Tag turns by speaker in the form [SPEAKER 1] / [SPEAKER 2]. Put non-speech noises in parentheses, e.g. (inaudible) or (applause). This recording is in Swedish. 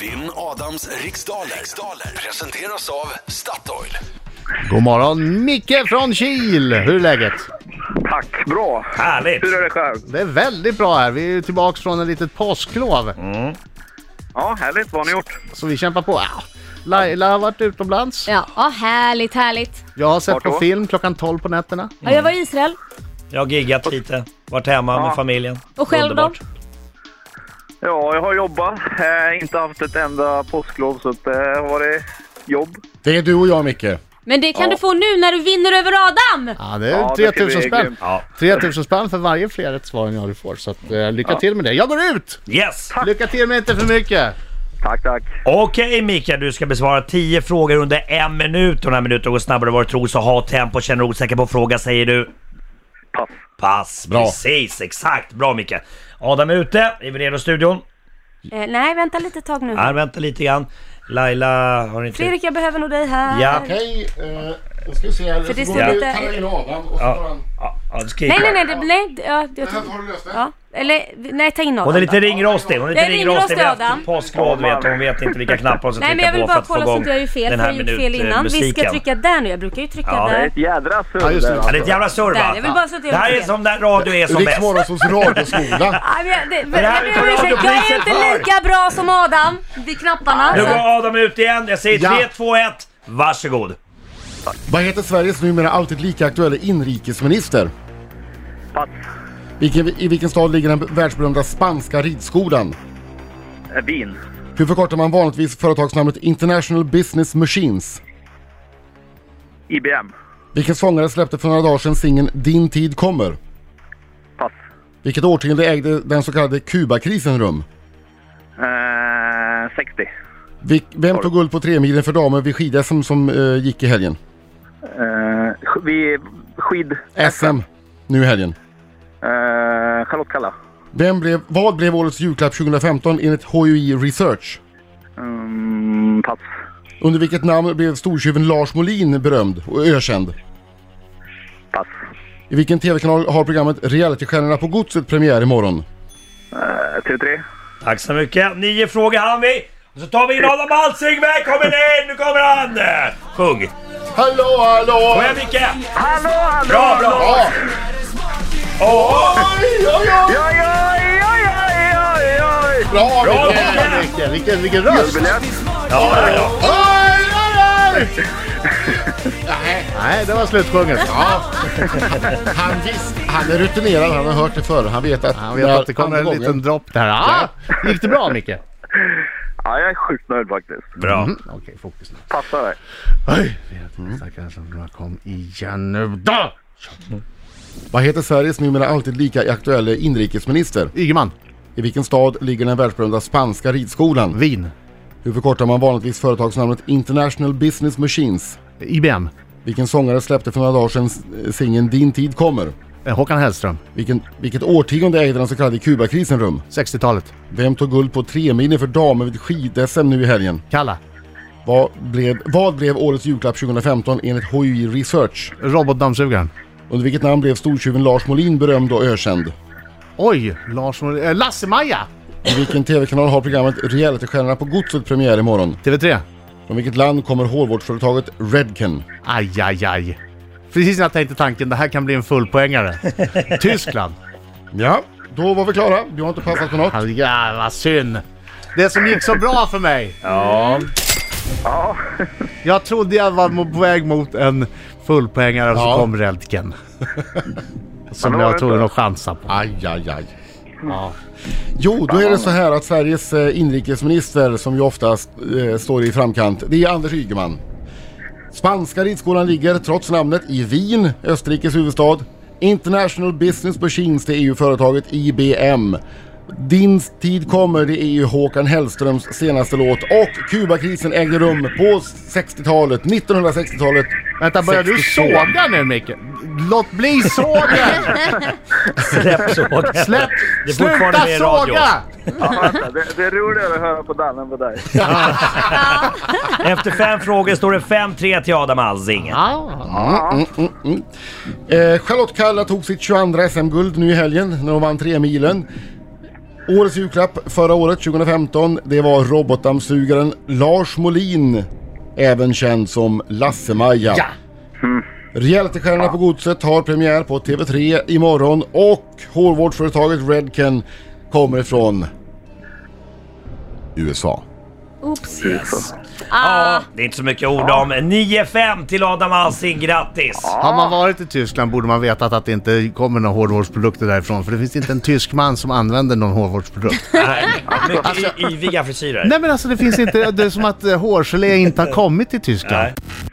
[SPEAKER 1] Vinn Adams riksdaler. riksdaler presenteras av Statoil.
[SPEAKER 2] God morgon Micke från Kil! Hur är läget?
[SPEAKER 3] Tack, bra.
[SPEAKER 4] Härligt!
[SPEAKER 3] Hur är det själv?
[SPEAKER 2] Det är väldigt bra här. Vi är ju tillbaks från en litet påsklov.
[SPEAKER 3] Ja, härligt. Vad har ni gjort?
[SPEAKER 2] Så vi kämpar på. Ja. Laila har varit utomlands.
[SPEAKER 5] Ja, ja, härligt, härligt.
[SPEAKER 2] Jag har sett
[SPEAKER 3] Vart
[SPEAKER 2] på
[SPEAKER 3] då?
[SPEAKER 2] film klockan 12 på nätterna.
[SPEAKER 5] Ja, jag var
[SPEAKER 4] Mm.
[SPEAKER 5] i Israel.
[SPEAKER 4] Jag har giggat lite, varit hemma
[SPEAKER 3] Ja.
[SPEAKER 4] med familjen.
[SPEAKER 5] Och själv då?
[SPEAKER 4] Underbart.
[SPEAKER 3] Ja, jag har jobbat. Eh, inte haft ett enda påsklov, så att, eh, har varit jobb.
[SPEAKER 6] Det är du och jag Micke.
[SPEAKER 5] Men det kan du få nu när du vinner över Adam!
[SPEAKER 2] Ja, det
[SPEAKER 3] Ja,
[SPEAKER 2] är
[SPEAKER 3] det
[SPEAKER 2] 3000
[SPEAKER 3] ska bli
[SPEAKER 2] spänn.
[SPEAKER 3] grymt.
[SPEAKER 4] Ja.
[SPEAKER 2] 3000 spänn för varje fler rätt svar än jag du får. Så att, eh, lycka till med det. Jag går ut!
[SPEAKER 4] Yes!
[SPEAKER 2] Lycka till men inte för mycket.
[SPEAKER 3] Tack, tack.
[SPEAKER 4] Okej Mikael, du ska besvara 10 frågor under en minut. Och den här minuten går snabbare än vad du tror, så ha tempo. Känner du osäker på fråga säger du?
[SPEAKER 3] Pass.
[SPEAKER 4] Pass!
[SPEAKER 6] Bra.
[SPEAKER 4] Precis, exakt. Bra Mikael. Adam är ute, är vi redo i studion?
[SPEAKER 5] Eh, nej, vänta lite tag nu.
[SPEAKER 4] Här, vänta lite grann. Laila, har ni inte...
[SPEAKER 5] Fredrik, jag behöver nog dig här.
[SPEAKER 4] Ja.
[SPEAKER 6] Okej, eh, då ska vi se här.
[SPEAKER 5] För det
[SPEAKER 6] Så
[SPEAKER 5] står
[SPEAKER 6] går du,
[SPEAKER 5] inte-
[SPEAKER 6] tar in Adam och så tar han...
[SPEAKER 4] Ja, ja, du ska
[SPEAKER 5] Nej, nej, nej, det, nej, det- ja, jag
[SPEAKER 6] Det här har du löst det?
[SPEAKER 5] ja. Eller, nej, ta in Adam
[SPEAKER 4] Hon är lite
[SPEAKER 5] då.
[SPEAKER 4] ringrostig. Hon är
[SPEAKER 5] Jag
[SPEAKER 4] lite
[SPEAKER 5] är
[SPEAKER 4] ringrostig. Vi har
[SPEAKER 5] ringrostig,
[SPEAKER 4] haft
[SPEAKER 5] Adam.
[SPEAKER 4] påsklov vet hon. Hon vet inte vilka knappar hon ska
[SPEAKER 5] Nej, men
[SPEAKER 4] trycka
[SPEAKER 5] jag
[SPEAKER 4] på
[SPEAKER 5] vill
[SPEAKER 4] för
[SPEAKER 5] bara
[SPEAKER 4] att få
[SPEAKER 5] kolla så att
[SPEAKER 4] igång
[SPEAKER 5] jag gör fel,
[SPEAKER 4] den
[SPEAKER 5] för
[SPEAKER 4] här eh,
[SPEAKER 5] jag gjorde fel innan. Vi ska
[SPEAKER 4] minutmusiken.
[SPEAKER 5] trycka där nu, jag brukar ju trycka
[SPEAKER 4] Ja.
[SPEAKER 3] Det är
[SPEAKER 5] där.
[SPEAKER 3] ett jädra eh,
[SPEAKER 6] Ja,
[SPEAKER 3] surr
[SPEAKER 6] just det.
[SPEAKER 3] där.
[SPEAKER 4] Ja, det är ett jävla surr
[SPEAKER 5] Där,
[SPEAKER 4] va?
[SPEAKER 5] jag vill bara så att jag
[SPEAKER 4] Det här
[SPEAKER 5] gör
[SPEAKER 4] är
[SPEAKER 5] fel.
[SPEAKER 4] som där radio är som
[SPEAKER 6] Riks
[SPEAKER 4] bäst.
[SPEAKER 6] Morgonsols
[SPEAKER 5] (laughs)
[SPEAKER 6] radioskola.
[SPEAKER 5] Nej, men jag- det-
[SPEAKER 4] här
[SPEAKER 5] jag
[SPEAKER 4] är
[SPEAKER 5] ber om
[SPEAKER 4] inte
[SPEAKER 5] ursäkt, Jag är
[SPEAKER 4] radiopriset
[SPEAKER 5] inte
[SPEAKER 4] för.
[SPEAKER 5] lika bra som Adam vid knapparna.
[SPEAKER 4] Nu
[SPEAKER 5] så-
[SPEAKER 4] går Adam ut igen. Jag säger
[SPEAKER 6] Ja.
[SPEAKER 4] 3, 2, 1. Varsågod.
[SPEAKER 6] Vad heter Sveriges numera alltid lika aktuella inrikesminister?
[SPEAKER 3] Pass.
[SPEAKER 6] Vilken, I vilken stad ligger den världsberömda spanska ridskolan?
[SPEAKER 3] Eh, Vin.
[SPEAKER 6] Hur förkortar man vanligtvis företagsnamnet International Business Machines?
[SPEAKER 3] IBM.
[SPEAKER 6] Vilken sångare släppte för några dagar sedan singeln Din tid kommer?
[SPEAKER 3] Pass.
[SPEAKER 6] Vilket årtionde ägde den så kallade Kubakrisen rum?
[SPEAKER 3] Eh, 60.
[SPEAKER 6] Vil- Vem tog guld på tremilen för damer vid skid som, som eh, gick i helgen?
[SPEAKER 3] Eh, sk- vi skid...
[SPEAKER 6] SM nu i helgen.
[SPEAKER 3] Eh, Charlotte Kalla.
[SPEAKER 6] Vem blev, vad blev årets julklapp 2015 enligt HUI Research?
[SPEAKER 3] Mm, pass.
[SPEAKER 6] Under vilket namn blev stortjuven Lars Molin berömd och ökänd?
[SPEAKER 3] Pass.
[SPEAKER 6] I vilken tv-kanal har programmet Realitystjärnorna på godset premiär imorgon?
[SPEAKER 3] Eh, TV3.
[SPEAKER 4] Tack så mycket. Nio frågor hann vi. Och så tar vi in Adam Alsing. Välkommen in! Nu kommer han! Sjung.
[SPEAKER 6] Hallå, hallå!
[SPEAKER 4] Kom igen Micke!
[SPEAKER 3] Hallå, hallå!
[SPEAKER 4] Bra, bra!
[SPEAKER 6] Ja,
[SPEAKER 4] Åh!
[SPEAKER 6] (laughs) oj, oj, oj!
[SPEAKER 3] Oj, oj, oj, oj, oj, oj!
[SPEAKER 6] Bra,
[SPEAKER 4] Bra,
[SPEAKER 6] Micke!
[SPEAKER 4] Micke!
[SPEAKER 2] Jävlar, Micke, vilken, vilken röst!
[SPEAKER 3] Jubileum.
[SPEAKER 4] Ja, ja.
[SPEAKER 6] Oj, oj, oj!
[SPEAKER 2] Nej, det var slutsjunget.
[SPEAKER 6] Han, visst, han är rutinerad, han har hört det förr. Han vet att...
[SPEAKER 2] Han vet att det kommer en liten dropp där. Ah, gick det bra Micke?
[SPEAKER 3] Ja, jag är sjukt nöjd faktiskt.
[SPEAKER 4] Bra.
[SPEAKER 2] Mm, Okej, fokus nu.
[SPEAKER 3] Passa dig.
[SPEAKER 2] Oj, stackaren som kom igen nu då!
[SPEAKER 6] Vad heter Sveriges numera alltid lika aktuella inrikesminister?
[SPEAKER 2] Ygeman,
[SPEAKER 6] I vilken stad ligger den världsberömda spanska ridskolan?
[SPEAKER 2] Wien,
[SPEAKER 6] Hur förkortar man vanligtvis företagsnamnet International Business Machines?
[SPEAKER 2] IBM,
[SPEAKER 6] Vilken sångare släppte för några dagar sedan eh, singeln Din tid kommer?
[SPEAKER 2] eh, Håkan Hellström,
[SPEAKER 6] Vilken, vilket årtionde ägde den så kallade Kubakrisen rum?
[SPEAKER 2] 60-talet,
[SPEAKER 6] Vem tog guld på tremilen för damer vid skid-SM nu i helgen?
[SPEAKER 2] Kalla,
[SPEAKER 6] Vad blev, vad blev årets julklapp 2015 enligt HUI Research?
[SPEAKER 2] robotdammsugaren.
[SPEAKER 6] Under vilket namn blev stortjuven Lars Molin berömd och ökänd?
[SPEAKER 2] Oj, Lars Molin, eh, Lasse-Maja!
[SPEAKER 6] I vilken TV-kanal har programmet Realitystjärnorna på godset premiär imorgon?
[SPEAKER 2] TV3.
[SPEAKER 6] Från vilket land kommer hårvårdsföretaget Redken?
[SPEAKER 2] Aj, aj, aj. Precis när jag tänkte tanken, det här kan bli en (laughs) fullpoängare. Tyskland.
[SPEAKER 6] Ja, då var vi klara. Du har inte passat på något.
[SPEAKER 2] Alltså, ja, vad synd. Det som gick så bra för mig.
[SPEAKER 4] Ja.
[SPEAKER 3] Ja,
[SPEAKER 2] Jag trodde jag var mo- på väg mot en fullpoängare och så
[SPEAKER 6] Ja.
[SPEAKER 2] kom (laughs) Reltgen. Som
[SPEAKER 3] Men det var
[SPEAKER 2] jag tog
[SPEAKER 3] inte.
[SPEAKER 2] någon chansa på.
[SPEAKER 6] Aj, aj, aj.
[SPEAKER 2] Ja.
[SPEAKER 6] Jo, då är det så här att Sveriges eh, inrikesminister, som ju oftast eh, står i framkant, det är Anders Ygeman. Spanska ridskolan ligger, trots namnet, i Wien, Österrikes huvudstad. International Business Machines, det är ju företaget IBM. Din tid kommer, det är ju Håkan Hellströms senaste låt. Och Kubakrisen ägde rum på 60-talet, 1960-talet.
[SPEAKER 2] Vänta, börjar du
[SPEAKER 6] 62.
[SPEAKER 2] såga nu Micke? Låt bli (laughs) sågen!
[SPEAKER 4] Släpp sågen.
[SPEAKER 2] Släpp!
[SPEAKER 4] Det är fortfarande
[SPEAKER 2] Sluta
[SPEAKER 4] med i radio.
[SPEAKER 2] såga!
[SPEAKER 3] ja vänta. det, det är roligare att höra på den än på dig.
[SPEAKER 4] Efter fem frågor står det 5-3 till Adam Alsing.
[SPEAKER 2] Ja.
[SPEAKER 6] Eh, Charlotte Kalla tog sitt 22 SM-guld nu i helgen när hon vann 3 milen. Årets julklapp förra året, 2015, det var robotdammsugaren Lars Molin. Även känd som Lasse-Maja.
[SPEAKER 4] Ja.
[SPEAKER 6] Reality-stjärnorna på Godset har premiär på TV3 imorgon och hårvårdsföretaget Redken kommer från USA.
[SPEAKER 5] Oops.
[SPEAKER 3] Yes.
[SPEAKER 5] Ah,
[SPEAKER 4] Ja, det är inte så mycket ord om. 9-5 till Adam Alsing, grattis!
[SPEAKER 2] Har man varit i Tyskland borde man vetat att det inte kommer några hårvårdsprodukter därifrån för det finns inte en tysk man som använder någon hårvårdsprodukt.
[SPEAKER 4] Nej, Mycket i- yviga frisyrer.
[SPEAKER 2] alltså, Nej men alltså det finns inte, det är som att eh, hårgelé inte har kommit till Tyskland.
[SPEAKER 4] Nej.